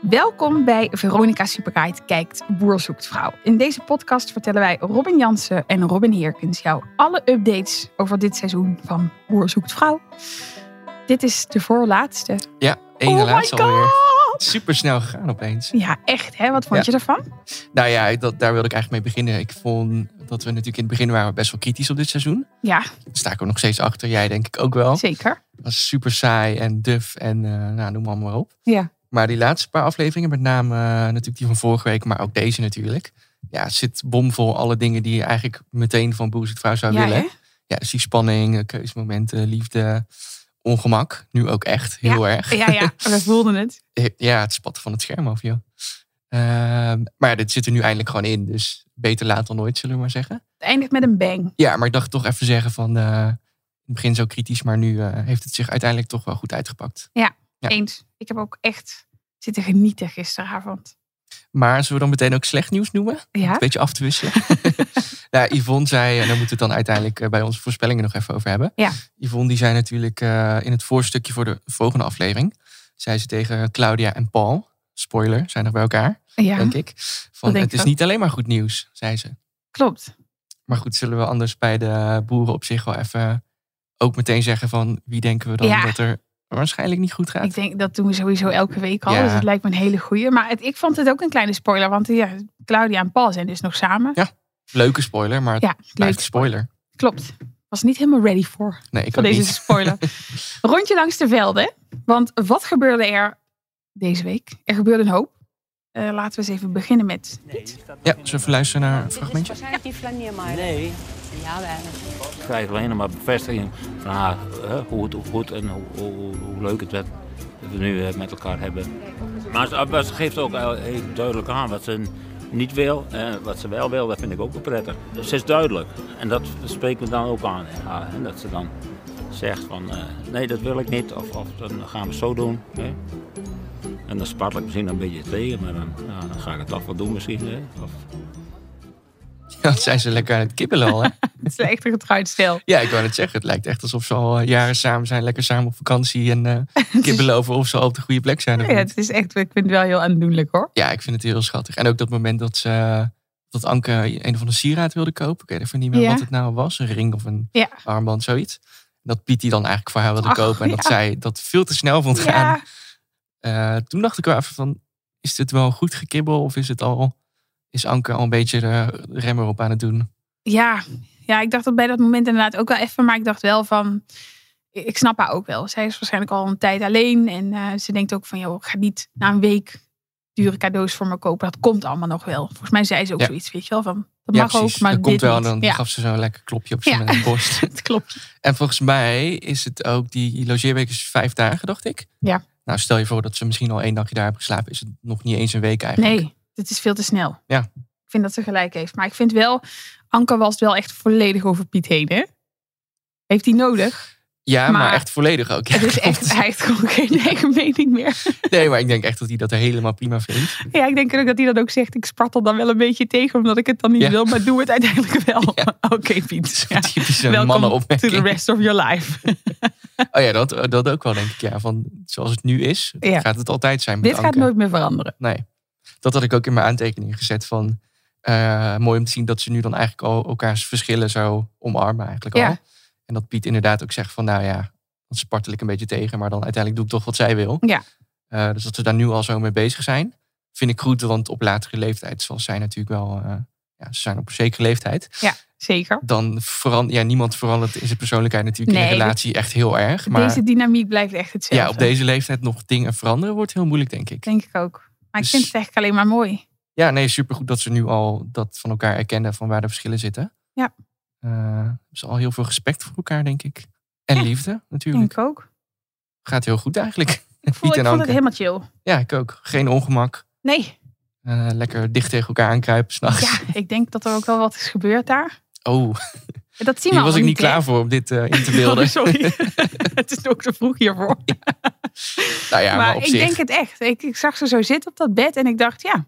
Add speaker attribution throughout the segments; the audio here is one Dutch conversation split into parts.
Speaker 1: Welkom bij Veronica Superguide kijkt Boer zoekt vrouw. In deze podcast vertellen wij Robin Jansen en Robin Heerkens jou alle updates over dit seizoen van Boer zoekt vrouw. Dit is de voorlaatste.
Speaker 2: Ja, één
Speaker 1: oh
Speaker 2: laatste
Speaker 1: my god!
Speaker 2: alweer. Super snel gegaan opeens.
Speaker 1: Ja, echt hè? Wat vond
Speaker 2: Ja.
Speaker 1: je ervan?
Speaker 2: Nou ja, ik- dat, daar wilde ik eigenlijk mee beginnen. Ik vond dat we natuurlijk in het begin waren we best wel kritisch op dit seizoen.
Speaker 1: Ja,
Speaker 2: Daar sta ik ook nog steeds achter. Jij denk ik ook wel.
Speaker 1: zeker.
Speaker 2: Het was super saai en duf en eh, nou, noem allemaal maar op.
Speaker 1: Ja.
Speaker 2: Maar die laatste paar afleveringen, met name eh, natuurlijk die van vorige week, maar ook deze natuurlijk. Ja, het zit bomvol alle dingen die je eigenlijk meteen van Boer zoekt vrouw zou
Speaker 1: ja,
Speaker 2: willen.
Speaker 1: hè?
Speaker 2: Ja, dus die spanning, eh, keuzemomenten, liefde, ongemak. Nu ook echt, heel erg.
Speaker 1: ja, ja, we voelden het.
Speaker 2: Ja, het spatten van het scherm af, joh. Ehm, maar ja, dit zit er nu eindelijk gewoon in. Dus beter laat dan nooit, zullen we maar zeggen.
Speaker 1: Het eindigt met een bang.
Speaker 2: Ja, maar ik dacht toch even zeggen van... eh, in het begin zo kritisch, maar nu eh, heeft het zich uiteindelijk toch wel goed uitgepakt. Ja.
Speaker 1: Eens. Ik heb ook echt zitten genieten gisteravond.
Speaker 2: Maar zullen we dan meteen ook slecht nieuws noemen?
Speaker 1: Ja?
Speaker 2: Een beetje af te wisselen. nou, Yvonne zei, en daar moeten we het dan uiteindelijk eh, bij onze voorspellingen nog even over hebben.
Speaker 1: Ja.
Speaker 2: Yvonne die zei natuurlijk eh, in het voorstukje voor de volgende aflevering... zei ze tegen Claudia en Paul, spoiler, zijn nog bij elkaar...
Speaker 1: Ja,
Speaker 2: denk ik. Van,
Speaker 1: denk ik
Speaker 2: het is
Speaker 1: ook.
Speaker 2: niet alleen maar goed nieuws, zei ze.
Speaker 1: klopt.
Speaker 2: Maar goed, zullen we anders bij de boeren op zich wel even ook meteen zeggen van wie denken we dan
Speaker 1: Ja.
Speaker 2: dat er waarschijnlijk niet goed gaat?
Speaker 1: Ik denk dat doen we sowieso elke week al.
Speaker 2: Ja.
Speaker 1: Dus het lijkt me een hele goeie. Maar het, ik vond het ook een kleine spoiler. Want ja, Claudia en Paul zijn dus nog samen.
Speaker 2: Ja, Leuke spoiler, maar het
Speaker 1: Ja,
Speaker 2: blijft
Speaker 1: leuk.
Speaker 2: een spoiler.
Speaker 1: Klopt. Was niet helemaal ready voor,
Speaker 2: Nee, ik
Speaker 1: voor
Speaker 2: ook
Speaker 1: deze
Speaker 2: niet.
Speaker 1: spoiler. Rondje langs de velden. Want wat gebeurde er deze week? Er gebeurde een hoop. Eh, laten we eens even beginnen met dit.
Speaker 2: Ja, zullen we even luisteren naar een fragmentje?
Speaker 3: Waarschijnlijk die flaniermaier.
Speaker 4: Nee,
Speaker 3: Jawel.
Speaker 4: ik krijg alleen maar bevestiging van haar hè, hoe, het, hoe goed en hoe, hoe, hoe leuk het werd dat we nu eh, met elkaar hebben. Maar ze, maar ze geeft ook heel- heel duidelijk aan wat ze niet wil en wat ze wel wil, dat vind ik ook wel prettig. Ze is duidelijk en dat spreekt me dan ook aan. Ja, hè, dat ze dan zegt van eh, nee, dat wil ik niet of, of dan gaan we het zo doen. Hè? En dan spartel ik misschien een beetje tegen, maar dan, ja, dan ga ik het toch wel doen misschien. Hè? Of,
Speaker 2: Ja, dat zijn ze lekker aan het kibbelen al, hè?
Speaker 1: Het slechte getrouwd stel.
Speaker 2: Ja, ik wou net zeggen, het lijkt echt alsof ze al eh, jaren samen zijn, lekker samen op vakantie en eh, kibbelen over of ze al op de goede plek zijn. of
Speaker 1: Ja,
Speaker 2: niet.
Speaker 1: het is echt, ik vind het wel heel aandoenlijk hoor.
Speaker 2: Ja, ik vind het heel schattig. En ook dat moment dat, ze, eh, dat Anke een of andere sieraad wilde kopen. Ik weet even niet meer
Speaker 1: Ja.
Speaker 2: wat het nou was. Een ring of een
Speaker 1: Ja.
Speaker 2: armband, zoiets. Dat Piet die dan eigenlijk voor haar wilde
Speaker 1: Ach,
Speaker 2: kopen. En dat
Speaker 1: ja.
Speaker 2: zij dat veel te snel vond gaan.
Speaker 1: Ja,
Speaker 2: Eh, toen dacht ik wel even van, is dit wel goed gekibbel? Of is het al, is Anke al een beetje de remmer op aan het doen?
Speaker 1: ja, ja, ik dacht dat bij dat moment inderdaad ook wel even. Maar ik dacht wel van, ik snap haar ook wel. Zij is waarschijnlijk al een tijd alleen. En eh, ze denkt ook van, joh, ik ga niet na een week dure cadeaus voor me kopen. Dat komt allemaal nog wel. Volgens mij zei ze ook
Speaker 2: Ja.
Speaker 1: zoiets, weet je wel. Van, dat
Speaker 2: ja,
Speaker 1: mag ook, maar
Speaker 2: dat
Speaker 1: dit
Speaker 2: komt wel. En
Speaker 1: niet.
Speaker 2: dan
Speaker 1: ja,
Speaker 2: gaf ze zo'n lekker klopje op zijn
Speaker 1: Ja.
Speaker 2: eh, borst.
Speaker 1: het klopt.
Speaker 2: En volgens mij is het ook, die logeerweek is vijf dagen, dacht ik.
Speaker 1: Ja.
Speaker 2: Nou, stel je voor dat ze misschien al één dagje daar hebben geslapen. Is het nog niet eens een week eigenlijk.
Speaker 1: Nee, dit is veel te snel.
Speaker 2: Ja.
Speaker 1: Ik vind dat ze gelijk heeft. Maar ik vind wel, Anke was wel echt volledig over Piet heen, hè? Heeft hij nodig?
Speaker 2: Ja, maar,
Speaker 1: Maar
Speaker 2: echt volledig ook. Ja,
Speaker 1: Het is
Speaker 2: klopt.
Speaker 1: echt, hij heeft gewoon geen eigen mening meer.
Speaker 2: Nee, maar ik denk echt dat hij dat helemaal prima vindt.
Speaker 1: Ja, ik denk ook dat hij dat ook zegt. Ik spartel dan wel een beetje tegen, omdat ik het dan niet
Speaker 2: Ja.
Speaker 1: wil, maar doe het uiteindelijk wel.
Speaker 2: Ja.
Speaker 1: Oké, Piet. Ja.
Speaker 2: Typische
Speaker 1: Welkom to the
Speaker 2: mannenopmerking.
Speaker 1: rest of your life.
Speaker 2: Oh ja, dat, dat ook wel denk ik. Ja, van zoals het nu is,
Speaker 1: Ja.
Speaker 2: gaat het altijd zijn met
Speaker 1: Dit gaat
Speaker 2: Anke.
Speaker 1: nooit meer veranderen.
Speaker 2: Nee. Dat had ik ook in mijn aantekeningen gezet van... eh, mooi om te zien dat ze nu dan eigenlijk al elkaars verschillen zo omarmen eigenlijk
Speaker 1: Ja.
Speaker 2: al. En dat Piet inderdaad ook zegt van nou ja, dan spartel ik een beetje tegen. Maar dan uiteindelijk doe ik toch wat zij wil.
Speaker 1: Ja.
Speaker 2: Eh, dus dat ze daar nu al zo mee bezig zijn. Vind ik goed, want op latere leeftijd zal zij natuurlijk wel... eh, ja, ze zijn op een zekere leeftijd.
Speaker 1: Zeker.
Speaker 2: Dan verandert... Ja, niemand verandert in zijn persoonlijkheid natuurlijk in
Speaker 1: Nee,
Speaker 2: een
Speaker 1: dat-
Speaker 2: relatie echt heel erg. Maar
Speaker 1: Deze dynamiek blijft echt hetzelfde.
Speaker 2: ja, op deze leeftijd nog dingen veranderen wordt heel moeilijk denk ik.
Speaker 1: Denk ik ook. Maar ik
Speaker 2: Dus-
Speaker 1: vind het eigenlijk alleen maar mooi.
Speaker 2: Ja, nee, supergoed dat ze nu al dat van elkaar erkennen van waar de verschillen zitten.
Speaker 1: Ja.
Speaker 2: Eh, dus al heel veel respect voor elkaar, denk ik. En liefde,
Speaker 1: Denk
Speaker 2: natuurlijk.
Speaker 1: ik ook.
Speaker 2: Gaat heel goed eigenlijk.
Speaker 1: Ik, voel,
Speaker 2: Piet
Speaker 1: ik
Speaker 2: en
Speaker 1: vond het
Speaker 2: Anke.
Speaker 1: helemaal chill.
Speaker 2: Ja, ik ook. Geen ongemak.
Speaker 1: Nee,
Speaker 2: eh, lekker dicht tegen elkaar aankruipen s'nachts.
Speaker 1: Ja, ik denk dat er ook wel wat is gebeurd daar.
Speaker 2: Oh,
Speaker 1: Dat zien we
Speaker 2: hier was
Speaker 1: allemaal
Speaker 2: ik niet
Speaker 1: hè?
Speaker 2: klaar voor om dit eh, in te beelden.
Speaker 1: Oh, sorry, het is ook te vroeg hiervoor.
Speaker 2: Nou ja, maar,
Speaker 1: maar
Speaker 2: op
Speaker 1: ik
Speaker 2: zich.
Speaker 1: denk het echt. Ik, ik zag ze zo zitten op dat bed en ik dacht, ja, ik
Speaker 2: daar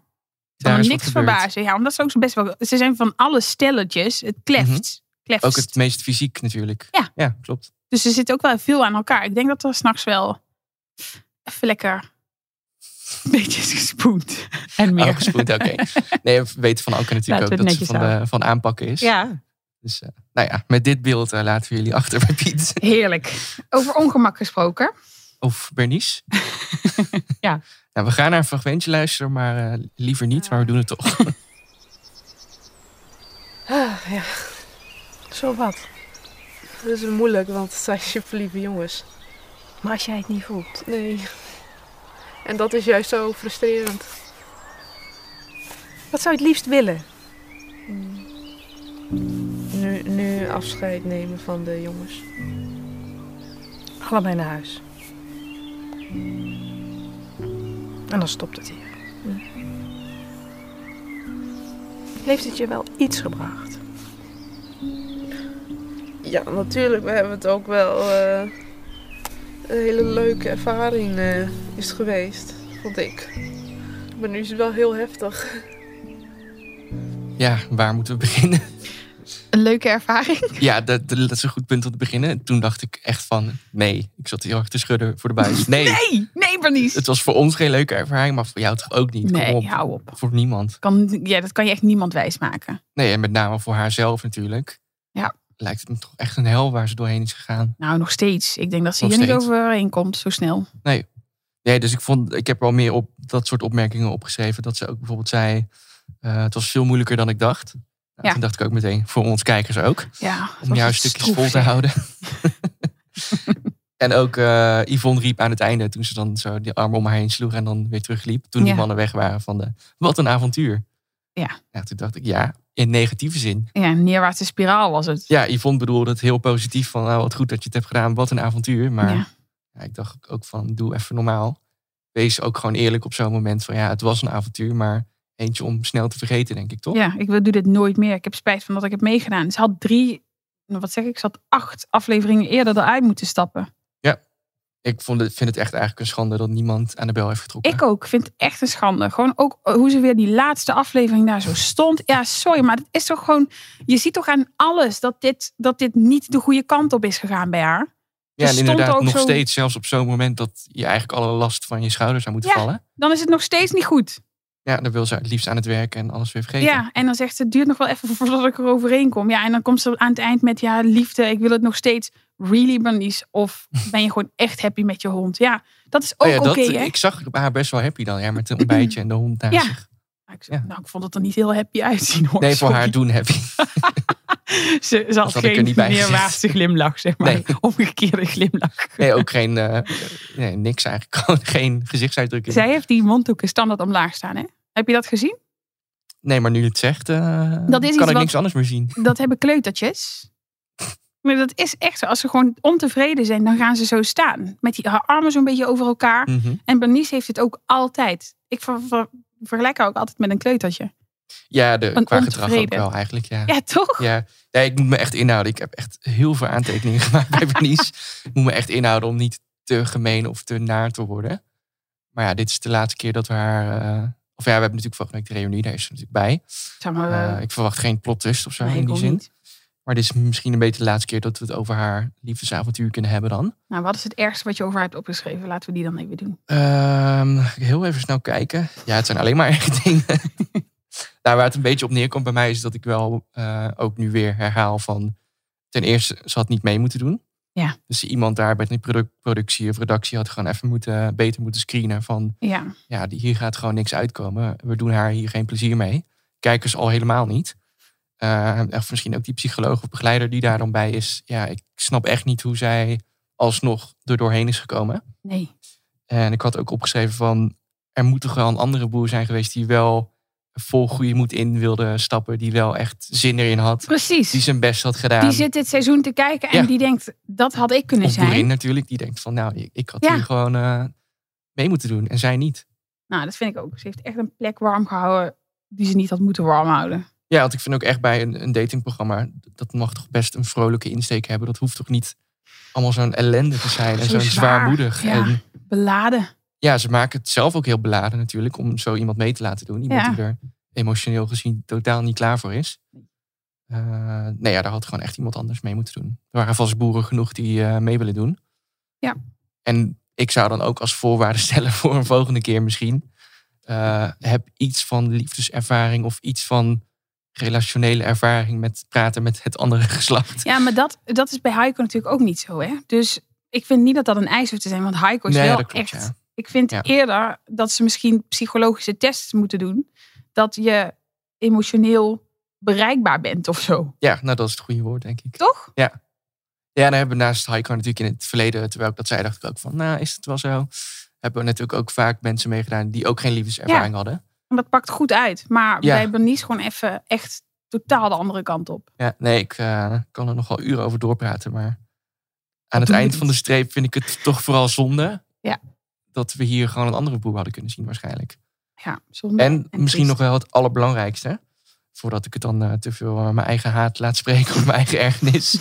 Speaker 1: kan me
Speaker 2: is wat
Speaker 1: niks
Speaker 2: gebeurd.
Speaker 1: verbazen. Ja, omdat ze ook zo best wel... Ze zijn van alle stelletjes, het kleft.
Speaker 2: Mhm.
Speaker 1: kleft.
Speaker 2: Ook het meest fysiek natuurlijk.
Speaker 1: Ja.
Speaker 2: ja klopt.
Speaker 1: Dus ze zitten ook wel veel aan elkaar. Ik denk dat er s'nachts wel even lekker een beetje is gespoend. En
Speaker 2: Oh, gespoeld, oké. Nee, we weten van Anke natuurlijk
Speaker 1: Laten we
Speaker 2: ook
Speaker 1: het
Speaker 2: dat ze van,
Speaker 1: netjes
Speaker 2: de, van aanpakken is.
Speaker 1: Ja,
Speaker 2: Dus eh, nou ja, met dit beeld eh, laten we jullie achter bij Piet.
Speaker 1: heerlijk. Over ongemak gesproken.
Speaker 2: Of Bernice.
Speaker 1: Ja.
Speaker 2: Nou, we gaan naar een fragmentje luisteren, maar eh, liever niet, maar we doen het toch.
Speaker 5: Ah, Zo wat. Dat is moeilijk, want het zijn je verliefde jongens. Maar als jij het niet voelt? Nee. En dat is juist zo frustrerend. Wat zou je het liefst willen? Hmm. Nu, nu afscheid nemen van de jongens. Allebei naar huis. En dan stopt het hier. Heeft het je wel iets gebracht? Ja, natuurlijk. We hebben het ook wel eh, een hele leuke ervaring eh, is het geweest, vond ik. Maar nu is het wel heel heftig.
Speaker 2: Ja, waar moeten we beginnen?
Speaker 1: Een leuke ervaring.
Speaker 2: Ja, dat, dat is een goed punt om te beginnen. En toen dacht ik echt van, nee. Ik zat heel erg te schudden voor de buis. Nee,
Speaker 1: Nee, nee Bernice.
Speaker 2: het was voor ons geen leuke ervaring, maar voor jou toch ook niet? Kom
Speaker 1: Nee,
Speaker 2: op.
Speaker 1: hou op.
Speaker 2: Voor niemand.
Speaker 1: Kan, ja, dat kan je echt niemand wijsmaken.
Speaker 2: Nee, en met name voor haarzelf natuurlijk.
Speaker 1: Ja.
Speaker 2: Lijkt het me toch echt een hel waar ze doorheen is gegaan.
Speaker 1: Nou, nog steeds. Ik denk dat ze
Speaker 2: Nog
Speaker 1: hier niet
Speaker 2: steeds.
Speaker 1: overheen komt zo snel.
Speaker 2: Nee, dus ik, vond, ik heb wel meer op dat soort opmerkingen opgeschreven. Dat ze ook bijvoorbeeld zei, eh, het was veel moeilijker dan ik dacht. Nou,
Speaker 1: Ja.
Speaker 2: Toen dacht ik ook meteen, voor ons kijkers ook.
Speaker 1: Ja, het
Speaker 2: Om
Speaker 1: was
Speaker 2: jouw
Speaker 1: echt
Speaker 2: stukjes
Speaker 1: stroef,
Speaker 2: vol te
Speaker 1: zeg.
Speaker 2: houden. en ook eh, Yvonne riep aan het einde, toen ze dan zo die armen om haar heen sloeg en dan weer terugliep. Toen die
Speaker 1: Ja.
Speaker 2: mannen weg waren van de, wat een avontuur.
Speaker 1: Ja.
Speaker 2: Nou, toen dacht ik, ja, in negatieve zin.
Speaker 1: Ja, een neerwaartse spiraal was het.
Speaker 2: Ja, Yvonne bedoelde het heel positief van, nou wat goed dat je het hebt gedaan, wat een avontuur. Maar
Speaker 1: Ja.
Speaker 2: ja, ik dacht ook van, doe even normaal. Wees ook gewoon eerlijk op zo'n moment van, ja, het was een avontuur, maar eentje om snel te vergeten, denk ik, toch?
Speaker 1: Ja, ik wil, doe dit nooit meer. Ik heb spijt van dat ik heb meegedaan. Ze had drie, nou, wat zeg ik, ze had acht afleveringen eerder eruit moeten stappen.
Speaker 2: Ik vond het, vind het echt eigenlijk een schande dat niemand aan de bel heeft getrokken.
Speaker 1: Ik ook, vind het echt een schande. Gewoon ook eh, hoe ze weer die laatste aflevering daar zo stond. Ja, sorry, maar dat is toch gewoon, je ziet toch aan alles dat dit, dat dit niet de goede kant op is gegaan bij haar.
Speaker 2: Ja,
Speaker 1: Er
Speaker 2: en
Speaker 1: stond
Speaker 2: inderdaad,
Speaker 1: ook
Speaker 2: nog
Speaker 1: zo-
Speaker 2: steeds, zelfs op zo'n moment dat je eigenlijk alle last van je schouders zou moeten
Speaker 1: Ja.
Speaker 2: vallen.
Speaker 1: Dan is het nog steeds niet goed.
Speaker 2: Ja, dan wil ze het liefst aan het werk en alles weer vergeten. Oh
Speaker 1: Ja, en dan zegt ze, het duurt nog wel even voordat ik er overheen kom. Ja, en dan komt ze aan het eind met, ja, liefde, ik wil het nog steeds. Really, Bernice? Of ben je gewoon echt happy met je hond? Ja, dat is ook
Speaker 2: Oh ja,
Speaker 1: oké,
Speaker 2: dat,
Speaker 1: hè?
Speaker 2: ik zag haar best wel happy dan, ja, met een ontbijtje en de hond naast
Speaker 1: Ja.
Speaker 2: zich.
Speaker 1: Nou, ik,
Speaker 2: Ja.
Speaker 1: nou, ik vond het er niet heel happy uitzien hoor.
Speaker 2: Nee, voor
Speaker 1: Sorry.
Speaker 2: haar doen happy.
Speaker 1: Ze, ze had
Speaker 2: had ik er
Speaker 1: geen
Speaker 2: niet bij gezet.
Speaker 1: neerwaartse glimlach, zeg maar.
Speaker 2: Nee.
Speaker 1: Omgekeerde glimlach.
Speaker 2: Nee, ook geen, eh, nee, niks eigenlijk. Gewoon geen gezichtsuitdrukking.
Speaker 1: Zij heeft die monddoeken standaard omlaag staan, hè? Heb je dat gezien?
Speaker 2: Nee, maar nu je het zegt, eh,
Speaker 1: Dat is iets
Speaker 2: kan ik
Speaker 1: wat-
Speaker 2: niks anders meer zien.
Speaker 1: Dat hebben kleutertjes. Maar dat is echt zo. Als ze gewoon ontevreden zijn, dan gaan ze zo staan. Met die, haar armen zo'n beetje over elkaar.
Speaker 2: Mhm.
Speaker 1: En Bernice heeft het ook altijd. Ik ver- ver- vergelijk haar ook altijd met een kleutertje.
Speaker 2: Ja, de,
Speaker 1: Een
Speaker 2: qua gedrag ook
Speaker 1: ontevreden.
Speaker 2: wel eigenlijk, ja.
Speaker 1: Ja, toch?
Speaker 2: Ja, nee, ik moet me echt inhouden. Ik heb echt heel veel aantekeningen gemaakt bij Bernice. Ik moet me echt inhouden om niet te gemeen of te naar te worden. Maar ja, dit is de laatste keer dat we haar... eh, of ja, we hebben natuurlijk volgende week de reunie, daar is ze natuurlijk bij.
Speaker 1: Zeg maar, eh,
Speaker 2: Eh, ik verwacht geen plot twist of zo
Speaker 1: nee,
Speaker 2: in
Speaker 1: ik
Speaker 2: die
Speaker 1: ook
Speaker 2: zin.
Speaker 1: niet.
Speaker 2: Maar dit is misschien een beetje de laatste keer dat we het over haar liefdesavontuur kunnen hebben dan.
Speaker 1: Nou, wat is het ergste wat je over haar hebt opgeschreven? Laten we die dan even doen.
Speaker 2: Ehm, heel even snel kijken. Ja, het zijn alleen maar echt dingen. nou, waar het een beetje op neerkomt bij mij is dat ik wel eh, ook nu weer herhaal van... Ten eerste, ze had niet mee moeten doen.
Speaker 1: Ja.
Speaker 2: Dus iemand daar bij de produ- productie of redactie had gewoon even moeten, beter moeten screenen van...
Speaker 1: Ja.
Speaker 2: Ja, die- hier gaat gewoon niks uitkomen. We doen haar hier geen plezier mee. Kijkers al helemaal niet. Eh, of misschien ook die psycholoog of begeleider die daar dan bij is. Ja, ik snap echt niet hoe zij alsnog er doorheen is gekomen.
Speaker 1: Nee.
Speaker 2: En ik had ook opgeschreven van... er moet toch wel een andere boer zijn geweest... die wel vol goede moed in wilde stappen. Die wel echt zin erin had.
Speaker 1: Precies.
Speaker 2: Die
Speaker 1: Die,
Speaker 2: zijn best had gedaan.
Speaker 1: zit dit seizoen te kijken en
Speaker 2: Ja.
Speaker 1: die denkt, dat had ik kunnen
Speaker 2: of boerin
Speaker 1: zijn.
Speaker 2: natuurlijk. Die denkt van, nou, ik, ik had
Speaker 1: Ja.
Speaker 2: hier gewoon eh, mee moeten doen. En zij niet.
Speaker 1: Nou, dat vind ik ook. Ze heeft echt een plek warm gehouden die ze niet had moeten warm houden.
Speaker 2: Ja, want ik vind ook echt bij een, een datingprogramma, dat mag toch best een vrolijke insteek hebben. Dat hoeft toch niet allemaal zo'n ellende te zijn en
Speaker 1: Zo
Speaker 2: zo'n
Speaker 1: zwaar,
Speaker 2: zwaarmoedig.
Speaker 1: ja.
Speaker 2: En
Speaker 1: Beladen.
Speaker 2: ja, ze maken het zelf ook heel beladen natuurlijk om zo iemand mee te laten doen. Iemand
Speaker 1: Ja.
Speaker 2: die er emotioneel gezien totaal niet klaar voor is. Eh, nee, ja, daar had gewoon echt iemand anders mee moeten doen. Er waren vast boeren genoeg die eh, mee willen doen.
Speaker 1: Ja.
Speaker 2: En ik zou dan ook als voorwaarde stellen voor een volgende keer misschien. eh, heb iets van liefdeservaring of iets van relationele ervaring met praten met het andere geslacht.
Speaker 1: Ja, maar dat, dat is bij Heiko natuurlijk ook niet zo, hè? Dus ik vind niet dat dat een eis hoeft te zijn, want Heiko is
Speaker 2: Nee,
Speaker 1: wel
Speaker 2: dat klopt,
Speaker 1: echt...
Speaker 2: ja.
Speaker 1: Ik vind
Speaker 2: Ja.
Speaker 1: eerder dat ze misschien psychologische tests moeten doen. Dat je emotioneel bereikbaar bent of zo.
Speaker 2: Ja, nou dat is het goede woord denk ik.
Speaker 1: Toch?
Speaker 2: Ja, dan hebben we naast Heiko natuurlijk in het verleden, terwijl ik dat zei, dacht ik ook van, nou is het wel zo. Hebben we natuurlijk ook vaak mensen meegedaan die ook geen liefdeservaring hadden.
Speaker 1: En dat pakt goed uit. Maar
Speaker 2: Ja.
Speaker 1: bij Bernice gewoon even echt totaal de andere kant op.
Speaker 2: Ja, nee, ik eh, kan er nog wel uren over doorpraten, maar aan het
Speaker 1: doen we
Speaker 2: eind
Speaker 1: niet.
Speaker 2: van de streep vind ik het toch vooral zonde.
Speaker 1: Ja.
Speaker 2: Dat we hier gewoon een andere boer hadden kunnen zien waarschijnlijk.
Speaker 1: Ja, zonde.
Speaker 2: En misschien
Speaker 1: triest.
Speaker 2: nog wel het allerbelangrijkste. Voordat ik het dan eh, te veel eh, mijn eigen haat laat spreken of mijn eigen ergernis.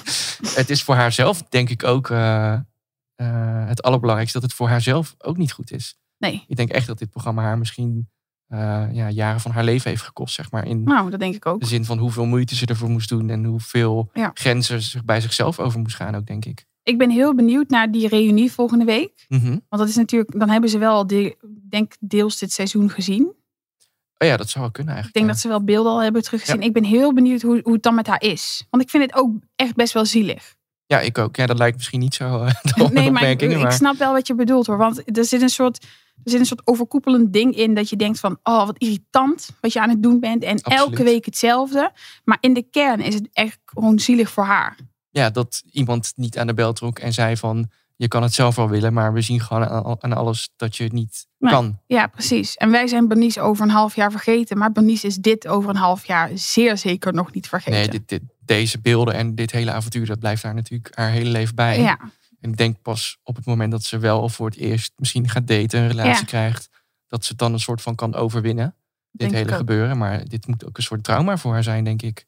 Speaker 2: het is voor haarzelf denk ik ook eh, eh, het allerbelangrijkste dat het voor haarzelf ook niet goed is.
Speaker 1: Nee.
Speaker 2: Ik denk echt dat dit programma haar misschien eh, ja, jaren van haar leven heeft gekost, zeg maar. In
Speaker 1: Nou, dat denk ik ook.
Speaker 2: de zin van hoeveel moeite ze ervoor moest doen en hoeveel
Speaker 1: Ja.
Speaker 2: grenzen ze zich bij zichzelf over moest gaan, ook denk ik.
Speaker 1: Ik ben heel benieuwd naar die reunie volgende week.
Speaker 2: Mhm.
Speaker 1: Want dat is natuurlijk, dan hebben ze wel, de, denk deels dit seizoen gezien.
Speaker 2: Oh ja, dat zou wel kunnen
Speaker 1: Ik
Speaker 2: eigenlijk.
Speaker 1: denk
Speaker 2: ja.
Speaker 1: dat ze wel beelden al hebben teruggezien. Ik ben heel benieuwd hoe, hoe het dan met haar is. Want ik vind het ook echt best wel zielig.
Speaker 2: Ja, ik ook. Ja, dat lijkt misschien niet zo eh de
Speaker 1: nee, maar ik,
Speaker 2: opmerkingen,
Speaker 1: ik snap wel wat je bedoelt hoor. Want er zit, een soort, er zit een soort overkoepelend ding in dat je denkt van... oh, wat irritant wat je aan het doen bent. En
Speaker 2: Absoluut.
Speaker 1: elke week hetzelfde. Maar in de kern is het echt gewoon zielig voor haar.
Speaker 2: ja, dat iemand niet aan de bel trok en zei van... je kan het zelf wel willen, maar we zien gewoon aan, aan alles dat je het niet
Speaker 1: Nee.
Speaker 2: kan.
Speaker 1: Ja, precies. En wij zijn Bernice over een half jaar vergeten. Maar Bernice is dit over een half jaar zeer zeker nog niet vergeten.
Speaker 2: Nee, dit, dit- deze beelden en dit hele avontuur, dat blijft haar natuurlijk haar hele leven bij.
Speaker 1: Ja,
Speaker 2: En ik denk pas op het moment dat ze wel voor het eerst misschien gaat daten, een relatie
Speaker 1: Ja.
Speaker 2: krijgt, dat ze het dan een soort van kan overwinnen. Dit
Speaker 1: Denk ik
Speaker 2: hele
Speaker 1: ook.
Speaker 2: gebeuren. Maar dit moet ook een soort trauma voor haar zijn, denk ik.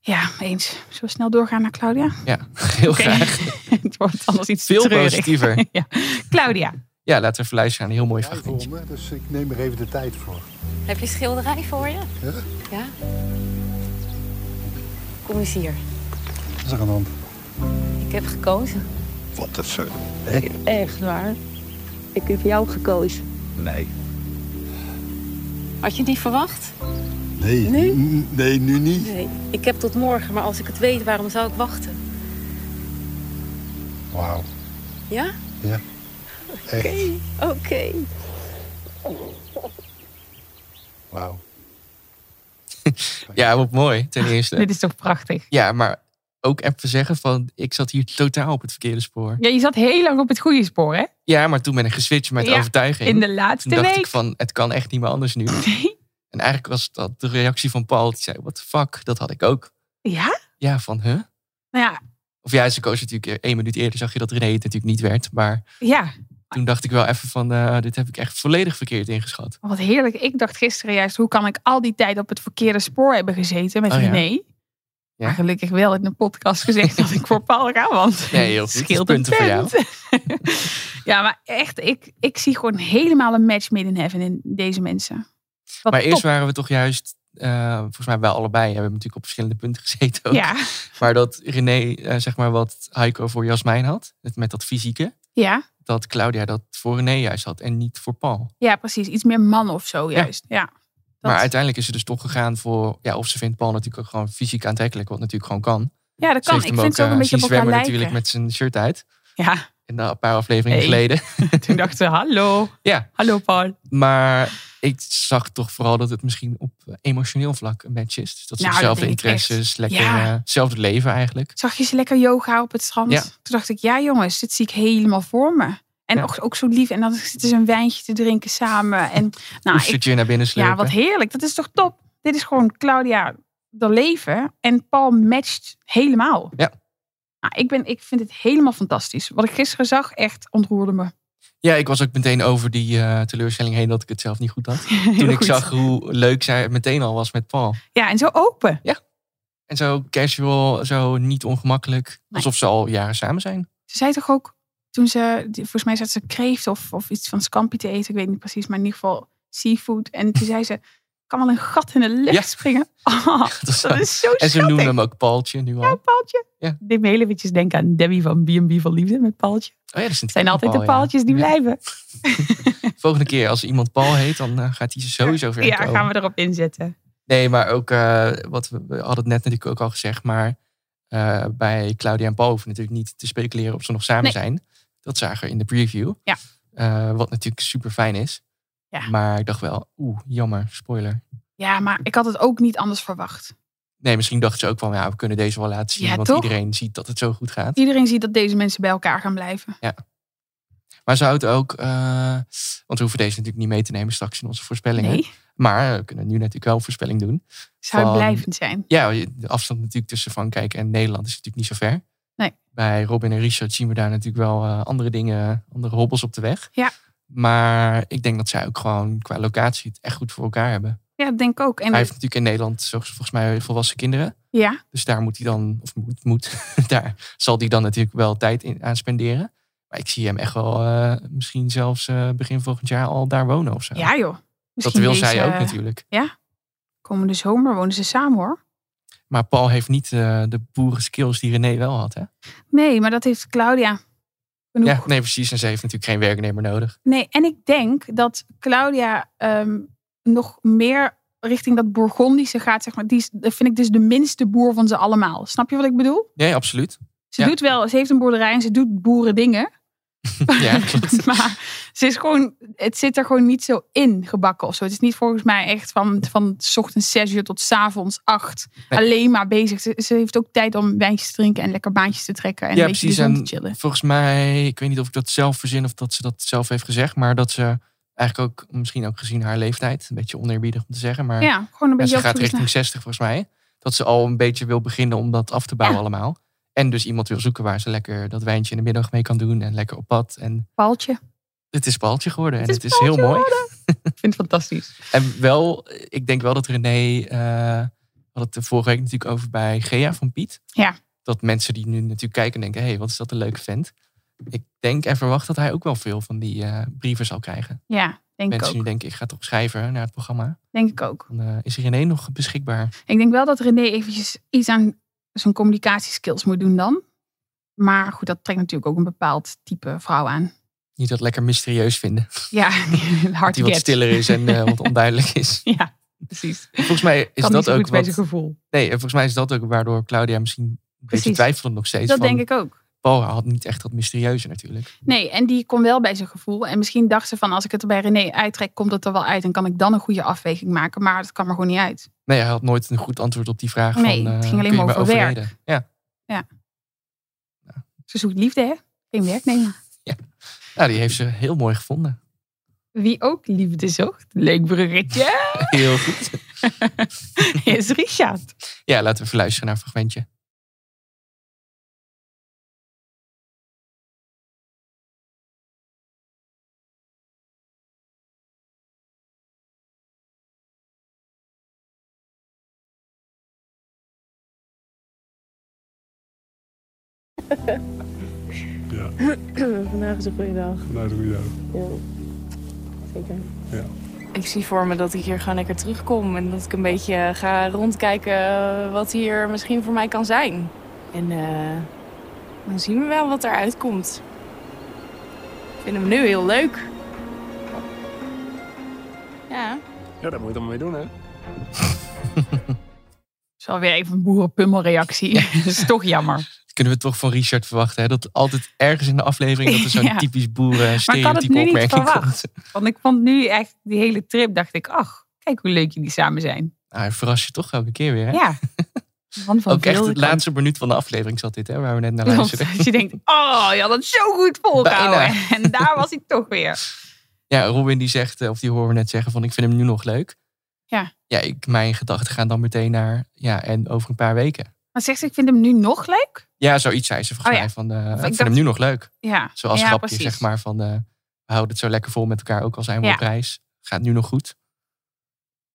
Speaker 1: ja, eens. Zullen we snel doorgaan naar Claudia?
Speaker 2: Ja, heel
Speaker 1: Oké.
Speaker 2: graag.
Speaker 1: het wordt anders iets te
Speaker 2: Veel
Speaker 1: treurig.
Speaker 2: positiever.
Speaker 1: ja. Claudia.
Speaker 2: Ja, laten we even luisteren naar een heel mooi fragmentje.
Speaker 6: dus ik neem er even de tijd voor.
Speaker 7: Heb je schilderij voor je?
Speaker 6: Ja?
Speaker 7: Ja. Kom eens hier.
Speaker 6: Dat is er aan de hand.
Speaker 7: Ik heb gekozen.
Speaker 6: Wat dat zo?
Speaker 7: Echt waar? Ik heb jou gekozen.
Speaker 6: Nee.
Speaker 7: Had je het niet verwacht?
Speaker 6: Nee.
Speaker 7: Nee?
Speaker 6: n- Nee, nu niet.
Speaker 7: Nee. Ik heb tot morgen, maar als ik het weet, waarom zou ik wachten?
Speaker 6: Wauw.
Speaker 7: Ja?
Speaker 6: Ja. Echt.
Speaker 7: Oké.
Speaker 6: Wauw.
Speaker 2: Ja, wat mooi, ten eerste.
Speaker 1: Dit is toch prachtig?
Speaker 2: Ja, maar ook even zeggen van, ik zat hier totaal op het verkeerde spoor.
Speaker 1: Ja, je zat heel lang op het goede spoor, hè?
Speaker 2: Ja, maar toen ben ik geswitcht met
Speaker 1: Ja,
Speaker 2: overtuiging.
Speaker 1: In de
Speaker 2: toen
Speaker 1: laatste
Speaker 2: dacht
Speaker 1: week.
Speaker 2: ik van, het kan echt niet meer anders nu.
Speaker 1: Nee.
Speaker 2: En eigenlijk was dat de reactie van Paul. Die zei, what the fuck, dat had ik ook.
Speaker 1: Ja?
Speaker 2: Ja, van, huh?
Speaker 1: Nou ja,
Speaker 2: Of ja, ze koos natuurlijk eh, één minuut eerder, zag je dat René het natuurlijk niet werd. Maar
Speaker 1: ja.
Speaker 2: toen dacht ik wel even van, eh, dit heb ik echt volledig verkeerd ingeschat.
Speaker 1: Wat heerlijk. Ik dacht gisteren juist, hoe kan ik al die tijd op het verkeerde spoor hebben gezeten met
Speaker 2: Oh ja.
Speaker 1: René?
Speaker 2: Ja.
Speaker 1: Maar gelukkig wel in de podcast gezegd dat ik voor Paul ga, want
Speaker 2: Nee, heel
Speaker 1: het
Speaker 2: goed.
Speaker 1: scheelt
Speaker 2: Punten voor jou.
Speaker 1: punt. ja, maar echt, ik, ik zie gewoon helemaal een match made in heaven in deze mensen. Wat
Speaker 2: maar eerst
Speaker 1: top.
Speaker 2: waren we toch juist, eh, volgens mij wel allebei, hebben we natuurlijk op verschillende punten gezeten ook.
Speaker 1: Ja,
Speaker 2: Maar dat René, eh, zeg maar wat Heiko voor Jasmijn had, het met dat fysieke.
Speaker 1: ja,
Speaker 2: Dat Claudia dat voor René juist had en niet voor Paul.
Speaker 1: ja, precies. Iets meer man of zo juist. Ja. Dat-
Speaker 2: Maar uiteindelijk is ze dus toch gegaan voor, ja, of ze vindt Paul natuurlijk ook gewoon fysiek aantrekkelijk, wat natuurlijk gewoon kan.
Speaker 1: ja, dat
Speaker 2: Ze
Speaker 1: kan.
Speaker 2: heeft
Speaker 1: Ik
Speaker 2: hem
Speaker 1: vind het ook
Speaker 2: eh,
Speaker 1: een beetje op
Speaker 2: zien
Speaker 1: elkaar
Speaker 2: zwemmen
Speaker 1: lijken.
Speaker 2: natuurlijk met zijn shirt uit.
Speaker 1: Ja,
Speaker 2: En dan een paar afleveringen
Speaker 1: Hey.
Speaker 2: geleden.
Speaker 1: Toen dacht ze, hallo.
Speaker 2: Ja.
Speaker 1: Hallo Paul.
Speaker 2: Maar ik zag toch vooral dat het misschien op eh, emotioneel vlak een match is. Dus dat ze
Speaker 1: Nou, dat
Speaker 2: dezelfde
Speaker 1: denk ik echt.
Speaker 2: interesses, lekker
Speaker 1: Ja. Nou,
Speaker 2: eh, hetzelfde leven eigenlijk.
Speaker 1: Zag je ze lekker yoga op het strand?
Speaker 2: Ja.
Speaker 1: Toen dacht ik, ja jongens, dit zie ik helemaal voor me. En
Speaker 2: Ja.
Speaker 1: ook, ook zo lief. En dan zitten ze een wijntje te drinken samen. En nou, ik-
Speaker 2: Oestertje naar binnen slepen.
Speaker 1: ja, wat heerlijk. Dat is toch top? Dit is gewoon Claudia de leven. En Paul matcht helemaal.
Speaker 2: Ja.
Speaker 1: Nou, ik, ben, ik vind het helemaal fantastisch. Wat ik gisteren zag, echt ontroerde me.
Speaker 2: Ja, ik was ook meteen over die eh, teleurstelling heen dat ik het zelf niet goed had.
Speaker 1: Heel
Speaker 2: Toen ik
Speaker 1: goed.
Speaker 2: zag hoe leuk zij het meteen al was met Paul.
Speaker 1: Ja, en zo open.
Speaker 2: En zo casual, zo niet ongemakkelijk. Alsof ze al jaren samen zijn.
Speaker 1: Ze zei toch ook, toen ze, die- volgens mij zat ze kreeft of, of iets van scampi te eten. Ik weet niet precies, maar in ieder geval seafood. En toen zei ze, kan wel een gat in de lucht
Speaker 2: Ja.
Speaker 1: springen. Ah,
Speaker 2: Dat is
Speaker 1: dat
Speaker 2: zo-
Speaker 1: is zo
Speaker 2: en ze
Speaker 1: schattig.
Speaker 2: noemen hem ook Paultje nu al.
Speaker 1: Ja, Paaltje.
Speaker 2: Ja.
Speaker 1: Dit me heel eventjes denken aan Debbie van B&B van Liefde met Paaltje.
Speaker 2: Oh ja, dat is
Speaker 1: Het zijn altijd de
Speaker 2: Paul, ja.
Speaker 1: paaltjes die
Speaker 2: Ja.
Speaker 1: blijven.
Speaker 2: Volgende keer als iemand Paul heet, dan eh, gaat hij ze sowieso
Speaker 1: Ja,
Speaker 2: weer komen.
Speaker 1: gaan we erop inzetten.
Speaker 2: Nee, maar ook eh, wat we, we hadden het net natuurlijk ook al gezegd, maar eh, bij Claudia en Paul hoeven natuurlijk niet te speculeren of ze nog samen
Speaker 1: Nee.
Speaker 2: zijn. Dat zagen we in de preview.
Speaker 1: Ja.
Speaker 2: Eh, wat natuurlijk super fijn is.
Speaker 1: Ja.
Speaker 2: Maar ik dacht wel, oeh, jammer, spoiler.
Speaker 1: Ja, maar ik had het ook niet anders verwacht.
Speaker 2: Nee, misschien dachten ze ook wel, ja, we kunnen deze wel laten zien,
Speaker 1: Ja,
Speaker 2: want
Speaker 1: toch?
Speaker 2: iedereen ziet dat het zo goed gaat.
Speaker 1: Iedereen ziet dat deze mensen bij elkaar gaan blijven.
Speaker 2: Maar zou het ook, eh, want we hoeven deze natuurlijk niet mee te nemen straks in onze voorspellingen.
Speaker 1: Nee,
Speaker 2: Maar we kunnen nu natuurlijk wel een voorspelling doen.
Speaker 1: zou
Speaker 2: Van-
Speaker 1: blijvend zijn.
Speaker 2: Ja, de afstand natuurlijk tussen Frankrijk en Nederland is natuurlijk niet zo ver.
Speaker 1: Nee.
Speaker 2: Bij Robin en Richard zien we daar natuurlijk wel eh, andere dingen, andere hobbels op de weg.
Speaker 1: Ja.
Speaker 2: Maar ik denk dat zij ook gewoon qua locatie het echt goed voor elkaar hebben.
Speaker 1: Ja, dat denk ik ook. En
Speaker 2: Hij heeft natuurlijk in Nederland zo- volgens mij volwassen kinderen.
Speaker 1: ja,
Speaker 2: Dus daar moet hij dan, of moet, moet daar zal hij dan natuurlijk wel tijd in, aan spenderen. Maar ik zie hem echt wel eh, misschien zelfs eh, begin volgend jaar al daar wonen of zo.
Speaker 1: ja joh.
Speaker 2: dat
Speaker 1: Misschien
Speaker 2: wil
Speaker 1: deze,
Speaker 2: zij ook
Speaker 1: eh,
Speaker 2: natuurlijk.
Speaker 1: Komende zomer wonen ze samen hoor.
Speaker 2: Maar Paul heeft niet eh, de boerenskills die René wel had, hè?
Speaker 1: Nee, maar dat heeft Claudia genoeg.
Speaker 2: Ja, nee, precies. En ze heeft natuurlijk geen werknemer nodig.
Speaker 1: Nee, en ik denk dat Claudia ehm, nog meer richting dat Bourgondische gaat. Zeg maar. Die is- dat vind ik dus de minste boer van ze allemaal. Snap je wat ik bedoel?
Speaker 2: Nee, absoluut.
Speaker 1: Ze
Speaker 2: Ja.
Speaker 1: doet wel, ze heeft een boerderij en ze doet boerendingen.
Speaker 2: Ja, klopt.
Speaker 1: maar ze is gewoon, het zit er gewoon niet zo in gebakken of zo. Het is niet volgens mij echt van, van 's ochtends 6 uur tot 's avonds 8.
Speaker 2: Nee.
Speaker 1: Alleen maar bezig. Ze, ze heeft ook tijd om wijntjes te drinken en lekker baantjes te trekken. En
Speaker 2: Ja,
Speaker 1: een beetje de
Speaker 2: precies,
Speaker 1: zon
Speaker 2: en-
Speaker 1: te chillen.
Speaker 2: Volgens mij, ik weet niet of ik dat zelf verzin of dat ze dat zelf heeft gezegd, maar dat ze eigenlijk ook, misschien ook gezien haar leeftijd, een beetje oneerbiedig om te zeggen, maar
Speaker 1: Ja, gewoon een
Speaker 2: ja,
Speaker 1: beetje
Speaker 2: ze
Speaker 1: op
Speaker 2: gaat
Speaker 1: zoek naar-
Speaker 2: richting 60 volgens mij, dat ze al een beetje wil beginnen om dat af te bouwen allemaal. En dus iemand wil zoeken waar ze lekker dat wijntje in de middag mee kan doen en lekker op pad. En
Speaker 1: Paltje.
Speaker 2: het is Paltje geworden en
Speaker 1: is
Speaker 2: het is heel
Speaker 1: Paaltje
Speaker 2: mooi.
Speaker 1: Ik vind het fantastisch.
Speaker 2: En wel, ik denk wel dat René, eh we hadden het er vorige week natuurlijk over bij Gea van Piet.
Speaker 1: Ja.
Speaker 2: Dat mensen die nu natuurlijk kijken denken, hé, hey, wat is dat een leuke vent. Ik denk en verwacht dat hij ook wel veel van die eh, brieven zal krijgen.
Speaker 1: Ja, denk ik
Speaker 2: mensen
Speaker 1: ook.
Speaker 2: nu denken, ik ga toch schrijven naar het programma.
Speaker 1: Denk ik ook.
Speaker 2: Dan eh, is René nog beschikbaar.
Speaker 1: Ik denk wel dat René eventjes iets aan zijn communicatieskills moet doen dan. Maar goed, dat trekt natuurlijk ook een bepaald type vrouw aan.
Speaker 2: Niet dat lekker mysterieus vinden.
Speaker 1: Ja, hard
Speaker 2: Dat hij wat stiller is en eh, wat onduidelijk is.
Speaker 1: Ja, precies.
Speaker 2: Volgens mij
Speaker 1: kan
Speaker 2: is dat
Speaker 1: niet zo
Speaker 2: ook
Speaker 1: goed bij zijn
Speaker 2: wat,
Speaker 1: gevoel.
Speaker 2: nee, en volgens mij is dat ook waardoor Claudia misschien een beetje
Speaker 1: Precies.
Speaker 2: twijfelde nog steeds.
Speaker 1: Dat
Speaker 2: van,
Speaker 1: denk ik ook.
Speaker 2: Paul had niet echt dat mysterieuze natuurlijk.
Speaker 1: Nee, en die kon wel bij zijn gevoel. En misschien dacht ze van, als ik het er bij René uittrek, komt het er wel uit. En kan ik dan een goede afweging maken. Maar dat kwam er gewoon niet uit.
Speaker 2: Nee, hij had nooit een goed antwoord op die vraag.
Speaker 1: Nee,
Speaker 2: van, eh,
Speaker 1: het ging alleen
Speaker 2: kun je
Speaker 1: maar
Speaker 2: me
Speaker 1: over werk.
Speaker 2: overreden? Ja,
Speaker 1: Ze zoekt liefde, hè? Geen werknemer.
Speaker 2: nou, die heeft ze heel mooi gevonden.
Speaker 1: Wie ook liefde zocht, leuk bruggetje,
Speaker 2: Heel goed.
Speaker 1: is Richard.
Speaker 2: Ja, laten we even luisteren naar een fragmentje.
Speaker 7: Vandaag is een goede dag.
Speaker 6: Nou, doe je dat.
Speaker 7: Ja. Zeker.
Speaker 5: Ik zie voor me dat ik hier gewoon lekker terugkom en dat ik een beetje ga rondkijken eh, wat hier misschien voor mij kan zijn. En eh, dan zien we wel wat eruit komt. Ik vind hem nu heel leuk. Ja.
Speaker 6: Ja, daar moet je dan mee doen, hè?
Speaker 1: Dat is wel weer even een boerenpummelreactie. dat is toch jammer.
Speaker 2: Dat kunnen we toch van Richard verwachten. Hè? Dat altijd ergens in de aflevering dat er zo'n
Speaker 1: Ja.
Speaker 2: typisch boeren
Speaker 1: Maar ik had het
Speaker 2: stereotype
Speaker 1: nu niet
Speaker 2: opmerking komt.
Speaker 1: verwacht. Want ik vond nu echt die hele trip, dacht ik, ach, kijk hoe leuk jullie samen zijn.
Speaker 2: Nou, hij verrast je toch elke keer weer. Hè?
Speaker 1: Ja. Man van
Speaker 2: Ook echt
Speaker 1: veel
Speaker 2: het
Speaker 1: kanten.
Speaker 2: laatste minuut van de aflevering zat dit, hè, waar we net naar
Speaker 1: Klopt.
Speaker 2: luisterden.
Speaker 1: Als je denkt, oh, je had het zo goed volgehouden.
Speaker 2: Bijna.
Speaker 1: En daar was ik toch weer.
Speaker 2: Ja, Robin die zegt, eh, of die horen we net zeggen van ik vind hem nu nog leuk.
Speaker 1: Ja.
Speaker 2: Ja, ik, mijn gedachten gaan dan meteen naar, ja, en over een paar weken.
Speaker 1: Maar zegt ze, ik vind hem nu nog leuk?
Speaker 2: Ja, zoiets zei ze volgens
Speaker 1: Oh ja.
Speaker 2: mij van, eh, ik vind
Speaker 1: dacht-
Speaker 2: hem nu nog leuk.
Speaker 1: Ja.
Speaker 2: Zoals
Speaker 1: ja,
Speaker 2: grapje,
Speaker 1: precies.
Speaker 2: zeg maar, van eh, We houden het zo lekker vol met elkaar, ook al zijn we
Speaker 1: Ja.
Speaker 2: op reis. Gaat nu nog goed.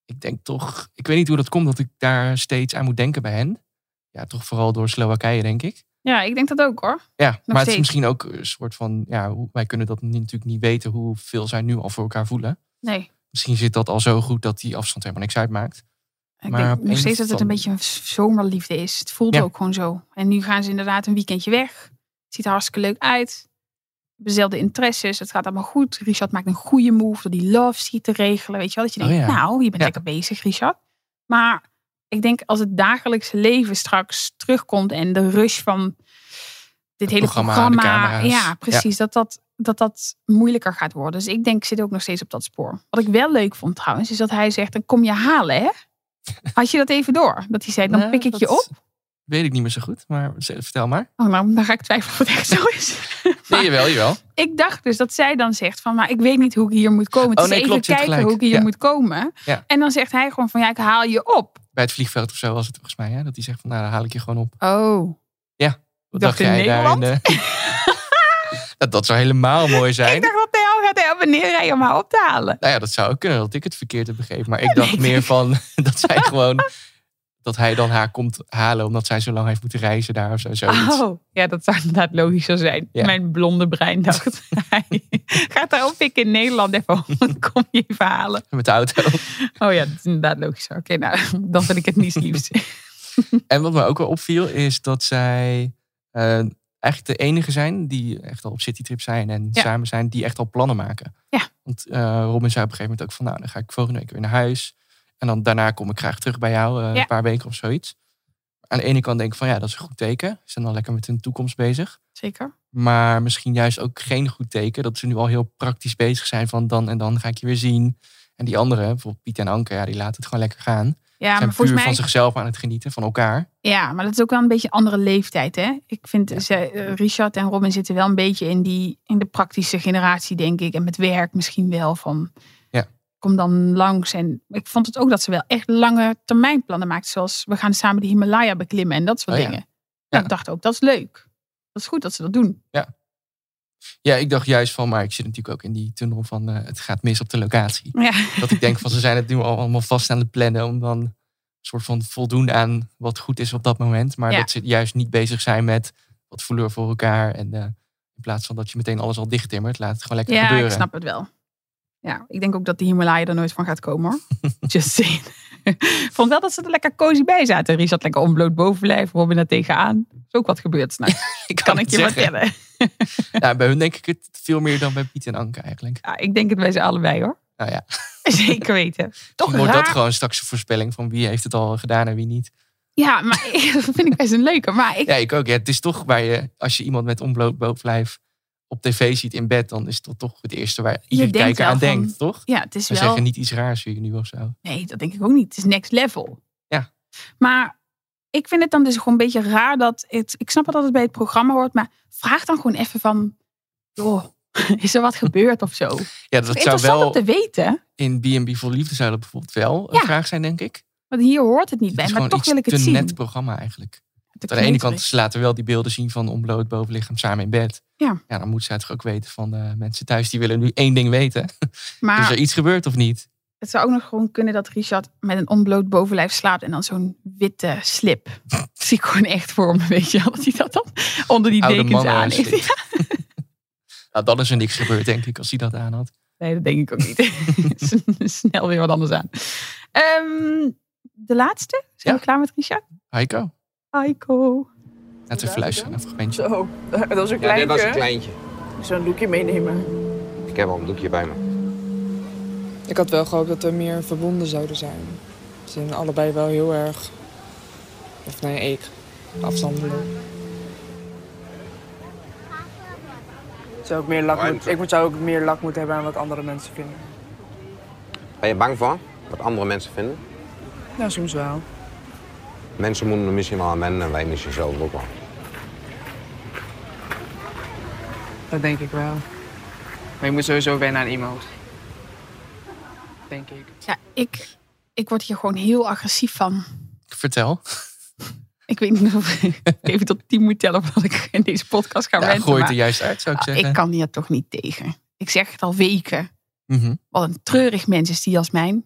Speaker 2: Ik denk toch, ik weet niet hoe dat komt dat ik daar steeds aan moet denken bij hen. Ja, toch vooral door Slowakije, denk ik.
Speaker 1: Ja, ik denk dat ook hoor.
Speaker 2: Ja, maar het is
Speaker 1: steeds.
Speaker 2: misschien ook een soort van, ja, hoe- wij kunnen dat ni- natuurlijk niet weten hoeveel zij nu al voor elkaar voelen.
Speaker 1: Nee.
Speaker 2: Misschien zit dat al zo goed dat die afstand helemaal niks uitmaakt.
Speaker 1: Ik
Speaker 2: Maar op
Speaker 1: denk nog
Speaker 2: een
Speaker 1: steeds dat het een
Speaker 2: van-
Speaker 1: beetje een z- zomerliefde is. Het voelt
Speaker 2: Ja.
Speaker 1: ook gewoon zo. En nu gaan ze inderdaad een weekendje weg. Het ziet er hartstikke leuk uit. Dezelfde interesses. Het gaat allemaal goed. Richard maakt een goede move door die love seat te regelen. Weet je wel? Dat je
Speaker 2: Oh
Speaker 1: denkt,
Speaker 2: ja.
Speaker 1: nou, je bent
Speaker 2: Ja.
Speaker 1: lekker bezig, Richard. Maar ik denk als het dagelijkse leven straks terugkomt en de rush van dit hele
Speaker 2: programma,
Speaker 1: programma.
Speaker 2: de camera's.
Speaker 1: ja, precies. Dat, dat, dat dat moeilijker gaat worden. Dus ik denk, ik zit ook nog steeds op dat spoor. Wat ik wel leuk vond trouwens, is dat hij zegt, dan kom je halen, hè? Had je dat even door? Dat hij zei, dan
Speaker 2: Nou,
Speaker 1: pik ik je
Speaker 2: dat
Speaker 1: op.
Speaker 2: Weet ik niet meer zo goed, maar z- vertel maar.
Speaker 1: Oh, nou, dan ga ik twijfelen of het echt zo is.
Speaker 2: Nee,
Speaker 1: Maar
Speaker 2: jawel, jawel.
Speaker 1: ik dacht dus dat zij dan zegt van, maar ik weet niet hoe ik hier moet komen. Het
Speaker 2: Oh,
Speaker 1: is
Speaker 2: nee,
Speaker 1: even
Speaker 2: klopt, je hebt
Speaker 1: kijken
Speaker 2: gelijk.
Speaker 1: hoe ik hier
Speaker 2: Ja.
Speaker 1: moet komen.
Speaker 2: Ja.
Speaker 1: En dan zegt hij gewoon van, ja, ik haal je op.
Speaker 2: Bij het vliegveld of zo was het volgens mij, hè? dat hij zegt van, nou, dan haal ik je gewoon op.
Speaker 1: Oh.
Speaker 2: Wat
Speaker 1: dacht in Nederland?
Speaker 2: eh? Nou, dat, dat zou helemaal mooi zijn.
Speaker 1: Ik dacht, wat de hel gaat hij op en neer rijden om haar op te halen?
Speaker 2: Nou ja, dat zou ook kunnen dat ik het verkeerd heb begrepen. Maar ik dacht
Speaker 1: nee.
Speaker 2: meer van dat zij gewoon. dat hij dan haar komt halen omdat zij zo lang heeft moeten reizen daar of zo. zoiets.
Speaker 1: Oh, ja, dat zou inderdaad logischer zijn.
Speaker 2: Ja.
Speaker 1: Mijn blonde brein dacht, hij gaat daar op ik in Nederland even om, dan kom je even halen.
Speaker 2: Met de auto.
Speaker 1: Oh ja, dat is inderdaad logischer. Oké, nou, dan vind ik het niet liefst.
Speaker 2: En wat me ook wel opviel is dat zij eh, echt de enige zijn die echt al op citytrip zijn en
Speaker 1: Ja.
Speaker 2: samen zijn, die echt al plannen maken.
Speaker 1: Ja.
Speaker 2: Want eh, Robin zei op een gegeven moment ook van, nou, dan ga ik volgende week weer naar huis. En dan daarna kom ik graag terug bij jou, eh,
Speaker 1: Ja.
Speaker 2: een paar weken of zoiets. Aan de ene kant denk ik van, ja, dat is een goed teken. Ze zijn dan lekker met hun toekomst bezig.
Speaker 1: Zeker.
Speaker 2: Maar misschien juist ook geen goed teken dat ze nu al heel praktisch bezig zijn van dan en dan ga ik je weer zien. En die anderen, bijvoorbeeld Piet en Anke, ja, die laten het gewoon lekker gaan.
Speaker 1: Ja,
Speaker 2: zijn
Speaker 1: maar
Speaker 2: puur
Speaker 1: volgens mij...
Speaker 2: van zichzelf aan het genieten, van elkaar.
Speaker 1: Ja, maar dat is ook wel een beetje een andere leeftijd, hè? Ik vind
Speaker 2: Ja.
Speaker 1: ze, eh, Richard en Robin zitten wel een beetje in, die, in de praktische generatie, denk ik. En met werk misschien wel van...
Speaker 2: Ja.
Speaker 1: Kom dan langs. En ik vond het ook dat ze wel echt lange termijn plannen maakt. Zoals we gaan samen de Himalaya beklimmen en dat soort
Speaker 2: Oh ja.
Speaker 1: dingen.
Speaker 2: Ja.
Speaker 1: Nou, ik dacht ook, dat is leuk. Dat is goed dat ze dat doen.
Speaker 2: Ja, ik dacht juist van, maar ik zit natuurlijk ook in die tunnel van eh, het gaat mis op de locatie.
Speaker 1: Ja.
Speaker 2: Dat ik denk van ze zijn het nu al allemaal vast aan het plannen om dan een soort van voldoen aan wat goed is op dat moment. Maar
Speaker 1: Ja.
Speaker 2: dat ze juist niet bezig zijn met wat voelen we voor elkaar. En eh, in plaats van dat je meteen alles al dichttimmert, laat het gewoon lekker
Speaker 1: Ja,
Speaker 2: gebeuren.
Speaker 1: ik snap het wel. Ja, ik denk ook dat de Himalaya er nooit van gaat komen hoor. Just saying. Vond wel dat ze er lekker cozy bij zaten. Richard lekker onbloot bovenlijf, Robin er tegenaan. Is ook wat gebeurd. Nou,
Speaker 2: Ik
Speaker 1: kan ik je
Speaker 2: maar
Speaker 1: vertellen.
Speaker 2: Ja, bij hun denk ik het veel meer dan bij Piet en Anke eigenlijk.
Speaker 1: Ja, ik denk het bij ze allebei hoor.
Speaker 2: Nou ja,
Speaker 1: Zeker weten. Toch
Speaker 2: wordt dat
Speaker 1: raar.
Speaker 2: gewoon straks een voorspelling van wie heeft het al gedaan en wie niet.
Speaker 1: Ja, maar dat vind ik best een leuke. Maar ik,
Speaker 2: Ja, ik ook. Ja, het is toch waar je, als je iemand met onbloot bovenlijf op tv ziet in bed, dan is dat toch het eerste waar iedere
Speaker 1: denkt
Speaker 2: kijker
Speaker 1: wel
Speaker 2: aan
Speaker 1: van,
Speaker 2: denkt, toch?
Speaker 1: ja, het is
Speaker 2: Ze
Speaker 1: wel...
Speaker 2: zeggen niet iets raars zie je nu of zo.
Speaker 1: Nee, dat denk ik ook niet. Het is next level.
Speaker 2: Ja.
Speaker 1: Maar ik vind het dan dus gewoon een beetje raar dat het. Ik snap wel dat het bij het programma hoort, maar vraag dan gewoon even van. Joh, is er wat gebeurd of zo?
Speaker 2: Ja, dat zou
Speaker 1: Interessant om
Speaker 2: wel
Speaker 1: te weten,
Speaker 2: in B&B voor Liefde zou dat bijvoorbeeld wel een
Speaker 1: Ja.
Speaker 2: vraag zijn, denk ik.
Speaker 1: want hier hoort het niet
Speaker 2: Het
Speaker 1: bij,
Speaker 2: is
Speaker 1: maar
Speaker 2: gewoon
Speaker 1: toch
Speaker 2: iets
Speaker 1: wil ik het
Speaker 2: te
Speaker 1: zien.
Speaker 2: net programma eigenlijk.
Speaker 1: Te
Speaker 2: aan de ene kant
Speaker 1: kneterig.
Speaker 2: ze laten wel die beelden zien van onbloot bovenlichaam samen in bed.
Speaker 1: Ja.
Speaker 2: ja, dan moet zij toch ook weten van de mensen thuis die willen nu één ding weten. Is
Speaker 1: Maar
Speaker 2: er iets gebeurd of niet?
Speaker 1: het zou ook nog gewoon kunnen dat Richard met een onbloot bovenlijf slaapt en dan zo'n witte slip. Dat zie ik gewoon echt voor me, weet je wel, dat hij dat dan onder die
Speaker 2: Oude
Speaker 1: dekens
Speaker 2: mannen
Speaker 1: aan heeft.
Speaker 2: slip. Nou, dan is er niks gebeurd, denk ik, als hij dat aan had.
Speaker 1: Nee, dat denk ik ook niet. S- Snel weer wat anders aan. Ehm, de laatste. Zijn
Speaker 2: Ja.
Speaker 1: we klaar met Richard?
Speaker 2: Heiko,
Speaker 1: Heiko.
Speaker 2: laten we even luisteren naar een fragmentje.
Speaker 7: Zo, dat was een kleintje. dat was een kleintje. Zo'n doekje meenemen.
Speaker 5: Ik had wel gehoopt dat we meer verbonden zouden zijn. Ze zijn allebei wel heel erg. Of nee, ik. Afstandelijk. Zou ik, meer lak moet, ik moet- zou ook meer lak moeten hebben aan wat andere mensen vinden.
Speaker 8: Ben je bang voor wat andere mensen vinden?
Speaker 5: Nou, soms wel.
Speaker 8: Mensen moeten er misschien wel aan wennen en wij misschien zelf ook wel.
Speaker 5: Dat denk ik wel. Maar je moet sowieso wennen aan iemand. Denk ik.
Speaker 1: Ja, ik, ik word hier gewoon heel agressief van.
Speaker 2: Vertel.
Speaker 1: Ik weet niet of ik even tot tien moet tellen voordat ik in deze podcast ga
Speaker 2: Ja,
Speaker 1: ranten,
Speaker 2: gooi het
Speaker 1: maar-
Speaker 2: er juist uit, zou ik
Speaker 1: Ah,
Speaker 2: zeggen.
Speaker 1: Ik kan hier toch niet tegen. ik zeg het al weken,
Speaker 2: Mhm.
Speaker 1: wat een treurig mens is die Jasmijn.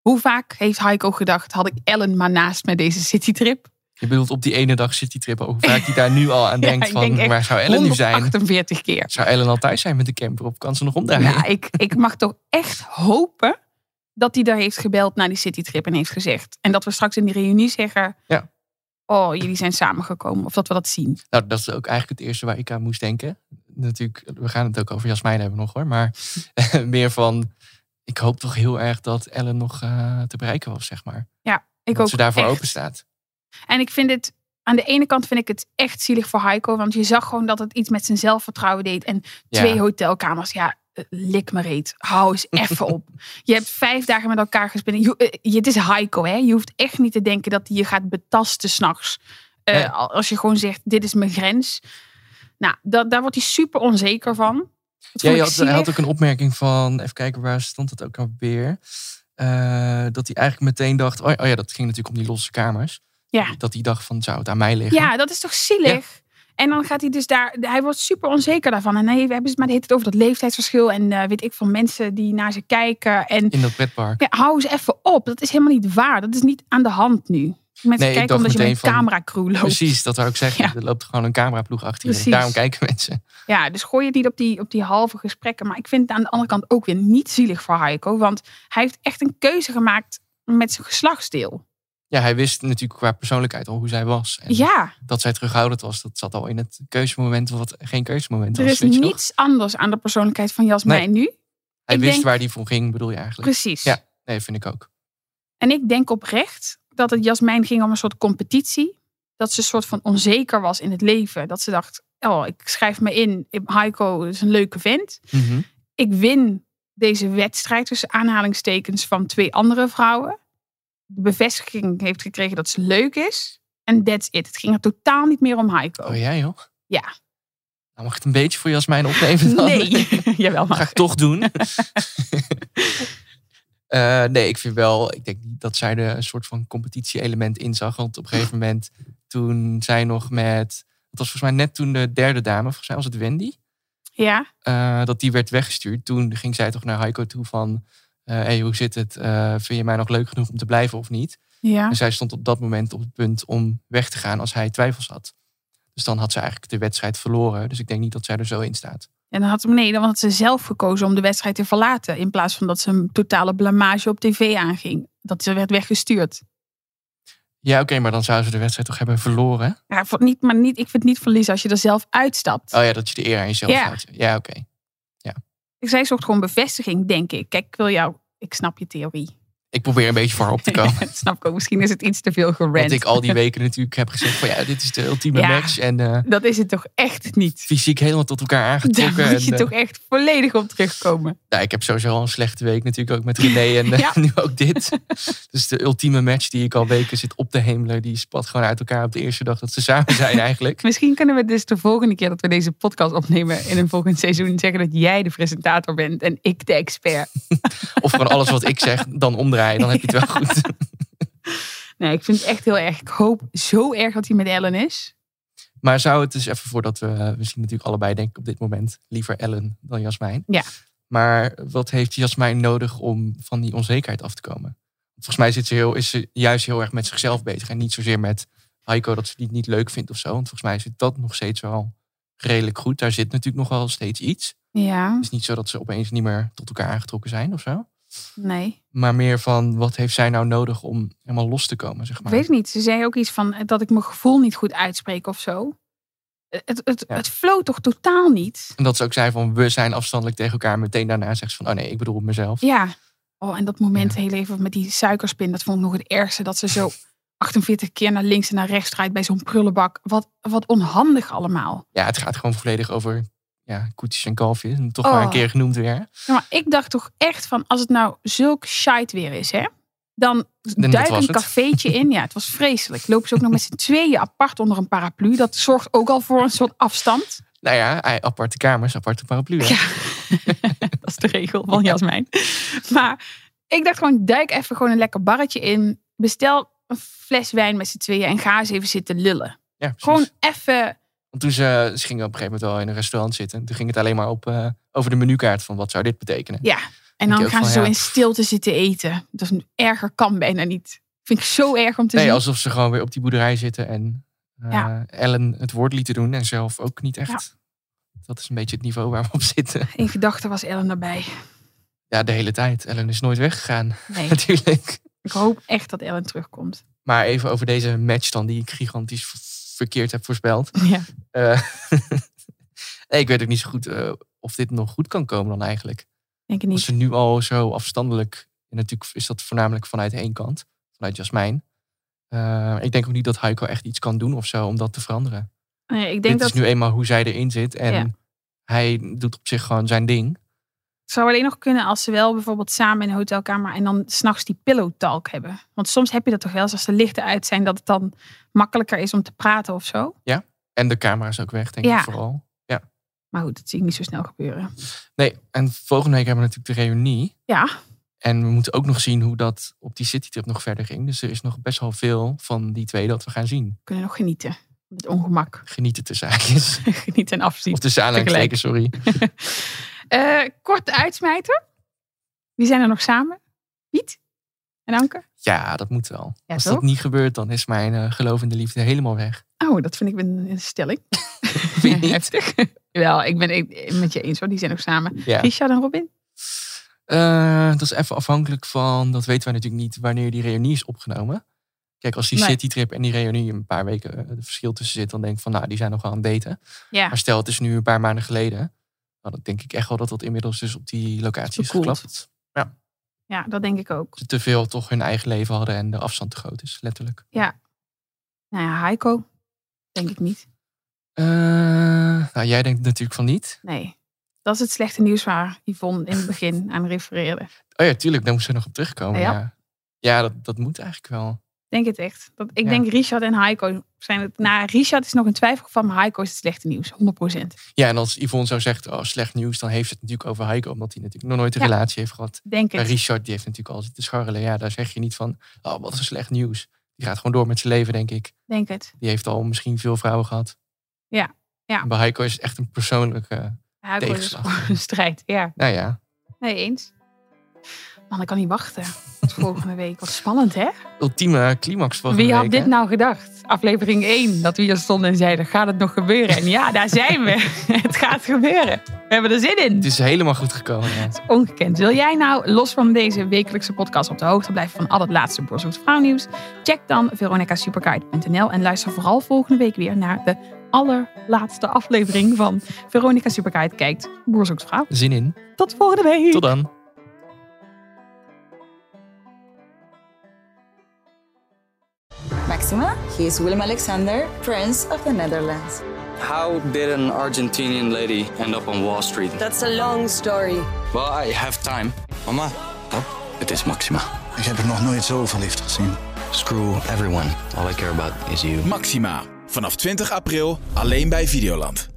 Speaker 1: Hoe vaak heeft Heiko gedacht, had ik Ellen maar naast met deze citytrip?
Speaker 2: Je bedoelt op die ene dag citytrip, hoe vaak je daar nu al aan
Speaker 1: Ja,
Speaker 2: denkt
Speaker 1: ik
Speaker 2: van,
Speaker 1: denk echt
Speaker 2: waar zou Ellen nu zijn?
Speaker 1: 148 keer.
Speaker 2: Zou Ellen al thuis zijn met de camper of kan ze nog omdraaien?
Speaker 1: Ja, ik, ik mag toch echt hopen dat hij daar heeft gebeld naar die citytrip en heeft gezegd. En dat we straks in die reunie zeggen,
Speaker 2: Ja.
Speaker 1: oh, jullie zijn samengekomen. Of dat we dat zien.
Speaker 2: Nou, dat is ook eigenlijk het eerste waar ik aan moest denken. Natuurlijk, we gaan het ook over Jasmijn hebben nog hoor. Maar meer van, ik hoop toch heel erg dat Ellen nog eh, te bereiken was, zeg maar.
Speaker 1: Ja, ik
Speaker 2: dat
Speaker 1: ook
Speaker 2: ze daarvoor
Speaker 1: echt.
Speaker 2: open staat.
Speaker 1: En ik vind het, aan de ene kant vind ik het echt zielig voor Heiko. Want je zag gewoon dat het iets met zijn zelfvertrouwen deed. En
Speaker 2: Ja.
Speaker 1: twee hotelkamers, ja, eh, lik me reet. Hou eens even op. Je hebt vijf dagen met elkaar gespeeld. Je- eh, je- Het is Heiko, hè. Je hoeft echt niet te denken dat hij je gaat betasten s'nachts. Eh
Speaker 2: Nee.
Speaker 1: al- Als je gewoon zegt, dit is mijn grens. Nou, dat, daar wordt hij super onzeker van. Dat
Speaker 2: Ja,
Speaker 1: vond
Speaker 2: je
Speaker 1: ik
Speaker 2: had, hij had
Speaker 1: zielig.
Speaker 2: ook een opmerking van, even kijken waar stond dat ook alweer. Eh, dat hij eigenlijk meteen dacht, oh, oh ja, dat ging natuurlijk om die losse kamers.
Speaker 1: Ja.
Speaker 2: Dat hij dacht van, zou het aan mij liggen?
Speaker 1: Ja, dat is toch zielig? En dan gaat hij dus daar, hij wordt super onzeker daarvan. En hij, we hebben het maar de hele tijd over dat leeftijdsverschil. En eh, weet ik van mensen die naar ze kijken. En
Speaker 2: In dat pretpark.
Speaker 1: ja, hou eens even op. Dat is helemaal niet waar. Dat is niet aan de hand nu. Mensen
Speaker 2: Nee, ik dacht
Speaker 1: kijken omdat je met
Speaker 2: meteen
Speaker 1: een
Speaker 2: van-
Speaker 1: cameracrew loopt.
Speaker 2: Precies, dat wou ik zeggen.
Speaker 1: Ja.
Speaker 2: Er loopt gewoon een cameraploeg achter je.
Speaker 1: Precies.
Speaker 2: Daarom kijken mensen.
Speaker 1: Ja, dus gooi het niet op die, op die halve gesprekken. Maar ik vind het aan de andere kant ook weer niet zielig voor Heiko. Want hij heeft echt een keuze gemaakt met zijn geslachtsdeel.
Speaker 2: Ja, hij wist natuurlijk qua persoonlijkheid al hoe zij was. En
Speaker 1: Ja,
Speaker 2: dat zij terughoudend was, dat zat al in het keuzemoment wat geen keuzemoment
Speaker 1: er
Speaker 2: was.
Speaker 1: is
Speaker 2: weet je nog?
Speaker 1: niets anders aan de persoonlijkheid van Jasmijn nu.
Speaker 2: Hij
Speaker 1: ik
Speaker 2: wist
Speaker 1: denk-
Speaker 2: waar die voor ging, bedoel je eigenlijk.
Speaker 1: Precies.
Speaker 2: Ja. Nee, vind ik ook.
Speaker 1: En ik denk oprecht dat het Jasmijn ging om een soort competitie. Dat ze een soort van onzeker was in het leven. Dat ze dacht, oh, ik schrijf me in. Heiko is een leuke vent.
Speaker 2: Mhm.
Speaker 1: Ik win deze wedstrijd tussen aanhalingstekens van twee andere vrouwen. De bevestiging heeft gekregen dat ze leuk is. En that's it. Het ging er totaal niet meer om Heiko.
Speaker 2: Oh ja, joh.
Speaker 1: Ja.
Speaker 2: Nou, mag ik het een beetje voor Jasmijn opnemen dan?
Speaker 1: Nee. Jawel,
Speaker 2: Dat ga
Speaker 1: maar.
Speaker 2: ik toch doen. Eh, nee, ik vind wel, ik denk niet dat zij er een soort van competitie-element in zag. Want op een gegeven moment, toen zij nog met, het was volgens mij net toen de derde dame, volgens mij was het Wendy,
Speaker 1: Ja,
Speaker 2: eh, dat die werd weggestuurd. Toen ging zij toch naar Heiko toe van, eh hey, hoe zit het? Eh, vind je mij nog leuk genoeg om te blijven of niet?
Speaker 1: ja.
Speaker 2: En zij stond op dat moment op het punt om weg te gaan als hij twijfels had. Dus dan had ze eigenlijk de wedstrijd verloren. Dus ik denk niet dat zij er zo in staat.
Speaker 1: En dan had, nee, dan had ze zelf gekozen om de wedstrijd te verlaten. In plaats van dat ze een totale blamage op tv aanging. Dat ze werd weggestuurd.
Speaker 2: Ja, oké, maar dan zou ze de wedstrijd toch hebben verloren?
Speaker 1: Ja, voor- niet, maar niet, ik vind het niet verliezen als je er zelf uitstapt.
Speaker 2: Oh ja, dat je de eer aan jezelf
Speaker 1: Ja.
Speaker 2: houdt. Ja, oké.
Speaker 1: Zij zocht gewoon bevestiging, denk ik. Kijk, ik wil jou... Ik snap je theorie.
Speaker 2: Ik probeer een beetje voor haar op te komen.
Speaker 1: dat snap ik ook. Misschien is het iets te veel gerend.
Speaker 2: Want ik al die weken natuurlijk heb gezegd van ja, dit is de ultieme
Speaker 1: Ja.
Speaker 2: match. En eh,
Speaker 1: Dat is het toch echt niet?
Speaker 2: fysiek helemaal tot elkaar
Speaker 1: Daar
Speaker 2: aangetrokken.
Speaker 1: moet je
Speaker 2: en, eh,
Speaker 1: toch echt volledig op terugkomen.
Speaker 2: nou, ik heb sowieso al een slechte week natuurlijk ook met René en eh,
Speaker 1: Ja.
Speaker 2: nu ook dit. Dus de ultieme match die ik al weken zit op te hemelen. Die spat gewoon uit elkaar op de eerste dag dat ze samen zijn eigenlijk.
Speaker 1: Misschien kunnen we dus de volgende keer dat we deze podcast opnemen... in een volgend seizoen zeggen dat jij de presentator bent en ik de expert.
Speaker 2: Of gewoon alles wat ik zeg dan omdraaien. Dan heb je het wel goed.
Speaker 1: Nee, ik vind het echt heel erg. Ik hoop zo erg dat hij met Ellen is.
Speaker 2: Maar zou het dus even voordat we, we zien natuurlijk allebei denk ik op dit moment liever Ellen dan Jasmijn.
Speaker 1: Ja.
Speaker 2: Maar wat heeft Jasmijn nodig om van die onzekerheid af te komen? Volgens mij zit ze heel, is ze juist heel erg met zichzelf bezig en niet zozeer met Heiko dat ze die niet leuk vindt of zo. Want volgens mij zit dat nog steeds wel redelijk goed. Daar zit natuurlijk nog wel steeds iets.
Speaker 1: Ja,
Speaker 2: Het is niet zo dat ze opeens niet meer tot elkaar aangetrokken zijn of zo.
Speaker 1: nee.
Speaker 2: Maar meer van wat heeft zij nou nodig om helemaal los te komen, zeg maar.
Speaker 1: Weet ik niet. Ze zei ook iets van eh, dat ik mijn gevoel niet goed uitspreek of zo. Eh, Het, het,
Speaker 2: Ja.
Speaker 1: het floot toch totaal niet?
Speaker 2: En dat ze ook zei van we zijn afstandelijk tegen elkaar. Meteen daarna zegt ze van oh nee, ik bedoel mezelf.
Speaker 1: Ja. Oh, en dat moment heel even met die suikerspin, dat vond ik nog het ergste. Dat ze zo 48 keer naar links en naar rechts draait bij zo'n prullenbak. Wat, wat onhandig allemaal.
Speaker 2: Ja, het gaat gewoon volledig over ja, koetjes en kalfjes. En toch maar een
Speaker 1: Oh.
Speaker 2: keer genoemd weer.
Speaker 1: Ja, maar ik dacht toch echt van, als het nou zulk shite weer is, hè? Dan
Speaker 2: dat
Speaker 1: duik
Speaker 2: was
Speaker 1: een
Speaker 2: het.
Speaker 1: cafeetje in. Ja, het was vreselijk. Lopen ze ook nog met z'n tweeën apart onder een paraplu. Dat zorgt ook al voor een soort afstand.
Speaker 2: Nou ja, ei- aparte kamers, aparte paraplu. hè?
Speaker 1: Ja, dat is de regel van Jasmijn. Maar ik dacht gewoon, duik even gewoon een lekker barretje in. Bestel een fles wijn met z'n tweeën en ga eens even zitten lullen.
Speaker 2: Ja, precies.
Speaker 1: Gewoon even
Speaker 2: Want toen ze, ze gingen op een gegeven moment wel in een restaurant zitten. Toen ging het alleen maar op, eh, over de menukaart van wat zou dit betekenen.
Speaker 1: Ja, en
Speaker 2: Denk je
Speaker 1: dan
Speaker 2: ook
Speaker 1: gaan
Speaker 2: van,
Speaker 1: ze zo
Speaker 2: ja.
Speaker 1: in stilte zitten eten. Dat is erger kan bijna niet. Vind ik zo erg om te
Speaker 2: Nee,
Speaker 1: zien.
Speaker 2: alsof ze gewoon weer op die boerderij zitten en eh,
Speaker 1: Ja.
Speaker 2: Ellen het woord lieten doen en zelf ook niet echt. Dat is een beetje het niveau waar we op zitten.
Speaker 1: In gedachten was Ellen daarbij.
Speaker 2: Ja, de hele tijd. Ellen is nooit weggegaan,
Speaker 1: Nee,
Speaker 2: natuurlijk.
Speaker 1: ik hoop echt dat Ellen terugkomt.
Speaker 2: Maar even over deze match dan, die ik gigantisch v- verkeerd heb voorspeld.
Speaker 1: Ja.
Speaker 2: Eh, nee, ik weet ook niet zo goed eh, of dit nog goed kan komen dan eigenlijk.
Speaker 1: Denk ik
Speaker 2: Als
Speaker 1: niet.
Speaker 2: ze nu al zo afstandelijk... En natuurlijk is dat voornamelijk vanuit één kant. Vanuit Jasmijn. Eh, ik denk ook niet dat Heiko echt iets kan doen of zo om dat te veranderen.
Speaker 1: Nee, ik denk
Speaker 2: dit
Speaker 1: dat
Speaker 2: is nu eenmaal hoe zij erin zit. En
Speaker 1: Ja.
Speaker 2: hij doet op zich gewoon zijn ding.
Speaker 1: het zou alleen nog kunnen als ze wel bijvoorbeeld samen in een hotelkamer en dan s'nachts die pillow talk hebben. Want soms heb je dat toch wel eens als de lichten uit zijn dat het dan makkelijker is om te praten of zo.
Speaker 2: En de camera is ook weg, denk
Speaker 1: Ja.
Speaker 2: ik vooral.
Speaker 1: Maar goed, dat zie ik niet zo snel gebeuren.
Speaker 2: Nee, en volgende week hebben we natuurlijk de reunie.
Speaker 1: Ja,
Speaker 2: En we moeten ook nog zien hoe dat op die citytrip nog verder ging. Dus er is nog best wel veel van die twee dat we gaan zien.
Speaker 1: we kunnen nog genieten. Van Het ongemak.
Speaker 2: Genieten tussen haakjes.
Speaker 1: Genieten en afzien.
Speaker 2: Of tussen aanhalingstekens, sorry.
Speaker 1: Eh, korte uitsmijter. Wie zijn er nog samen? Piet en Anke?
Speaker 2: Ja, dat moet wel.
Speaker 1: Ja,
Speaker 2: Als
Speaker 1: toch?
Speaker 2: dat niet gebeurt, dan is mijn eh, geloof in de liefde helemaal weg.
Speaker 1: Oh, dat vind ik een, een stelling.
Speaker 2: Vind je niet?
Speaker 1: Heftig. Wel, ik ben ik, met je eens hoor. Die zijn nog samen.
Speaker 2: Ja.
Speaker 1: Richard en Robin?
Speaker 2: Eh, dat is even afhankelijk van, dat weten wij natuurlijk niet, wanneer die reunie is opgenomen. Kijk, als die
Speaker 1: Nee.
Speaker 2: citytrip en die reunie een paar weken eh, het verschil tussen zit, dan denk ik van, nou, die zijn nog wel aan het daten.
Speaker 1: Ja.
Speaker 2: Maar stel, het is nu een paar maanden geleden, nou, dan denk ik echt wel dat dat inmiddels dus op die locatie is
Speaker 1: Verkoeld.
Speaker 2: geklapt.
Speaker 1: Ja, dat denk ik ook.
Speaker 2: Ze te veel toch hun eigen leven hadden en de afstand te groot is, letterlijk.
Speaker 1: Nou ja, Heiko? Denk ik niet.
Speaker 2: Eh, nou, jij denkt natuurlijk van niet.
Speaker 1: Nee. Dat is het slechte nieuws waar Yvonne in het begin aan refereerde.
Speaker 2: Oh ja, tuurlijk, daar moesten we nog op terugkomen.
Speaker 1: Ja.
Speaker 2: Ja, ja. ja dat, dat moet eigenlijk wel.
Speaker 1: Denk het echt. Dat, ik
Speaker 2: Ja.
Speaker 1: denk Richard en Heiko zijn het. Nou, Richard is nog een twijfelgeval, maar Heiko is het slechte nieuws. 100%.
Speaker 2: Ja, en als Yvonne zou zeggen, oh, slecht nieuws, dan heeft ze het natuurlijk over Heiko, omdat hij natuurlijk nog nooit een
Speaker 1: Ja.
Speaker 2: relatie heeft gehad.
Speaker 1: Denk
Speaker 2: Maar
Speaker 1: het.
Speaker 2: Richard die heeft natuurlijk al zitten scharrelen. Ja, daar zeg je niet van, oh, wat een slecht nieuws. Die gaat gewoon door met zijn leven, denk ik.
Speaker 1: Denk het.
Speaker 2: Die heeft al misschien veel vrouwen gehad.
Speaker 1: Ja, ja.
Speaker 2: En bij Heiko is het echt een persoonlijke...
Speaker 1: Heiko is
Speaker 2: Tegenslag.
Speaker 1: gewoon een strijd. Ja.
Speaker 2: Nou ja,
Speaker 1: Nee, eens. Man, ik kan niet wachten. Tot volgende week. Wat spannend, hè?
Speaker 2: ultieme climax van
Speaker 1: Wie had dit nou gedacht? Aflevering 1, dat we hier stonden en zeiden, gaat het nog gebeuren? En ja, daar zijn we. het gaat gebeuren. We hebben er zin in.
Speaker 2: Het is helemaal goed gekomen. ja.
Speaker 1: Het is ongekend. Wil jij nou, los van deze wekelijkse podcast, op de hoogte blijven van al het laatste Borsels Vrouwnieuws? Check dan veronicasuperguide.nl en luister vooral volgende week weer naar de allerlaatste aflevering van Veronica Superguide kijkt Boerzoekt Vrouw.
Speaker 2: Zin in.
Speaker 1: Tot volgende week!
Speaker 2: Tot dan.
Speaker 9: Maxima, he is Willem Alexander, Prince of the Netherlands.
Speaker 10: How did an Argentinian lady end up on Wall Street?
Speaker 3: That's a long story.
Speaker 10: Well, I have time.
Speaker 11: Mama,
Speaker 10: Het is Maxima.
Speaker 11: ik heb er nog nooit zo verliefd gezien.
Speaker 10: Screw everyone. All I care about is you.
Speaker 12: Maxima. Vanaf 20 april alleen bij Videoland.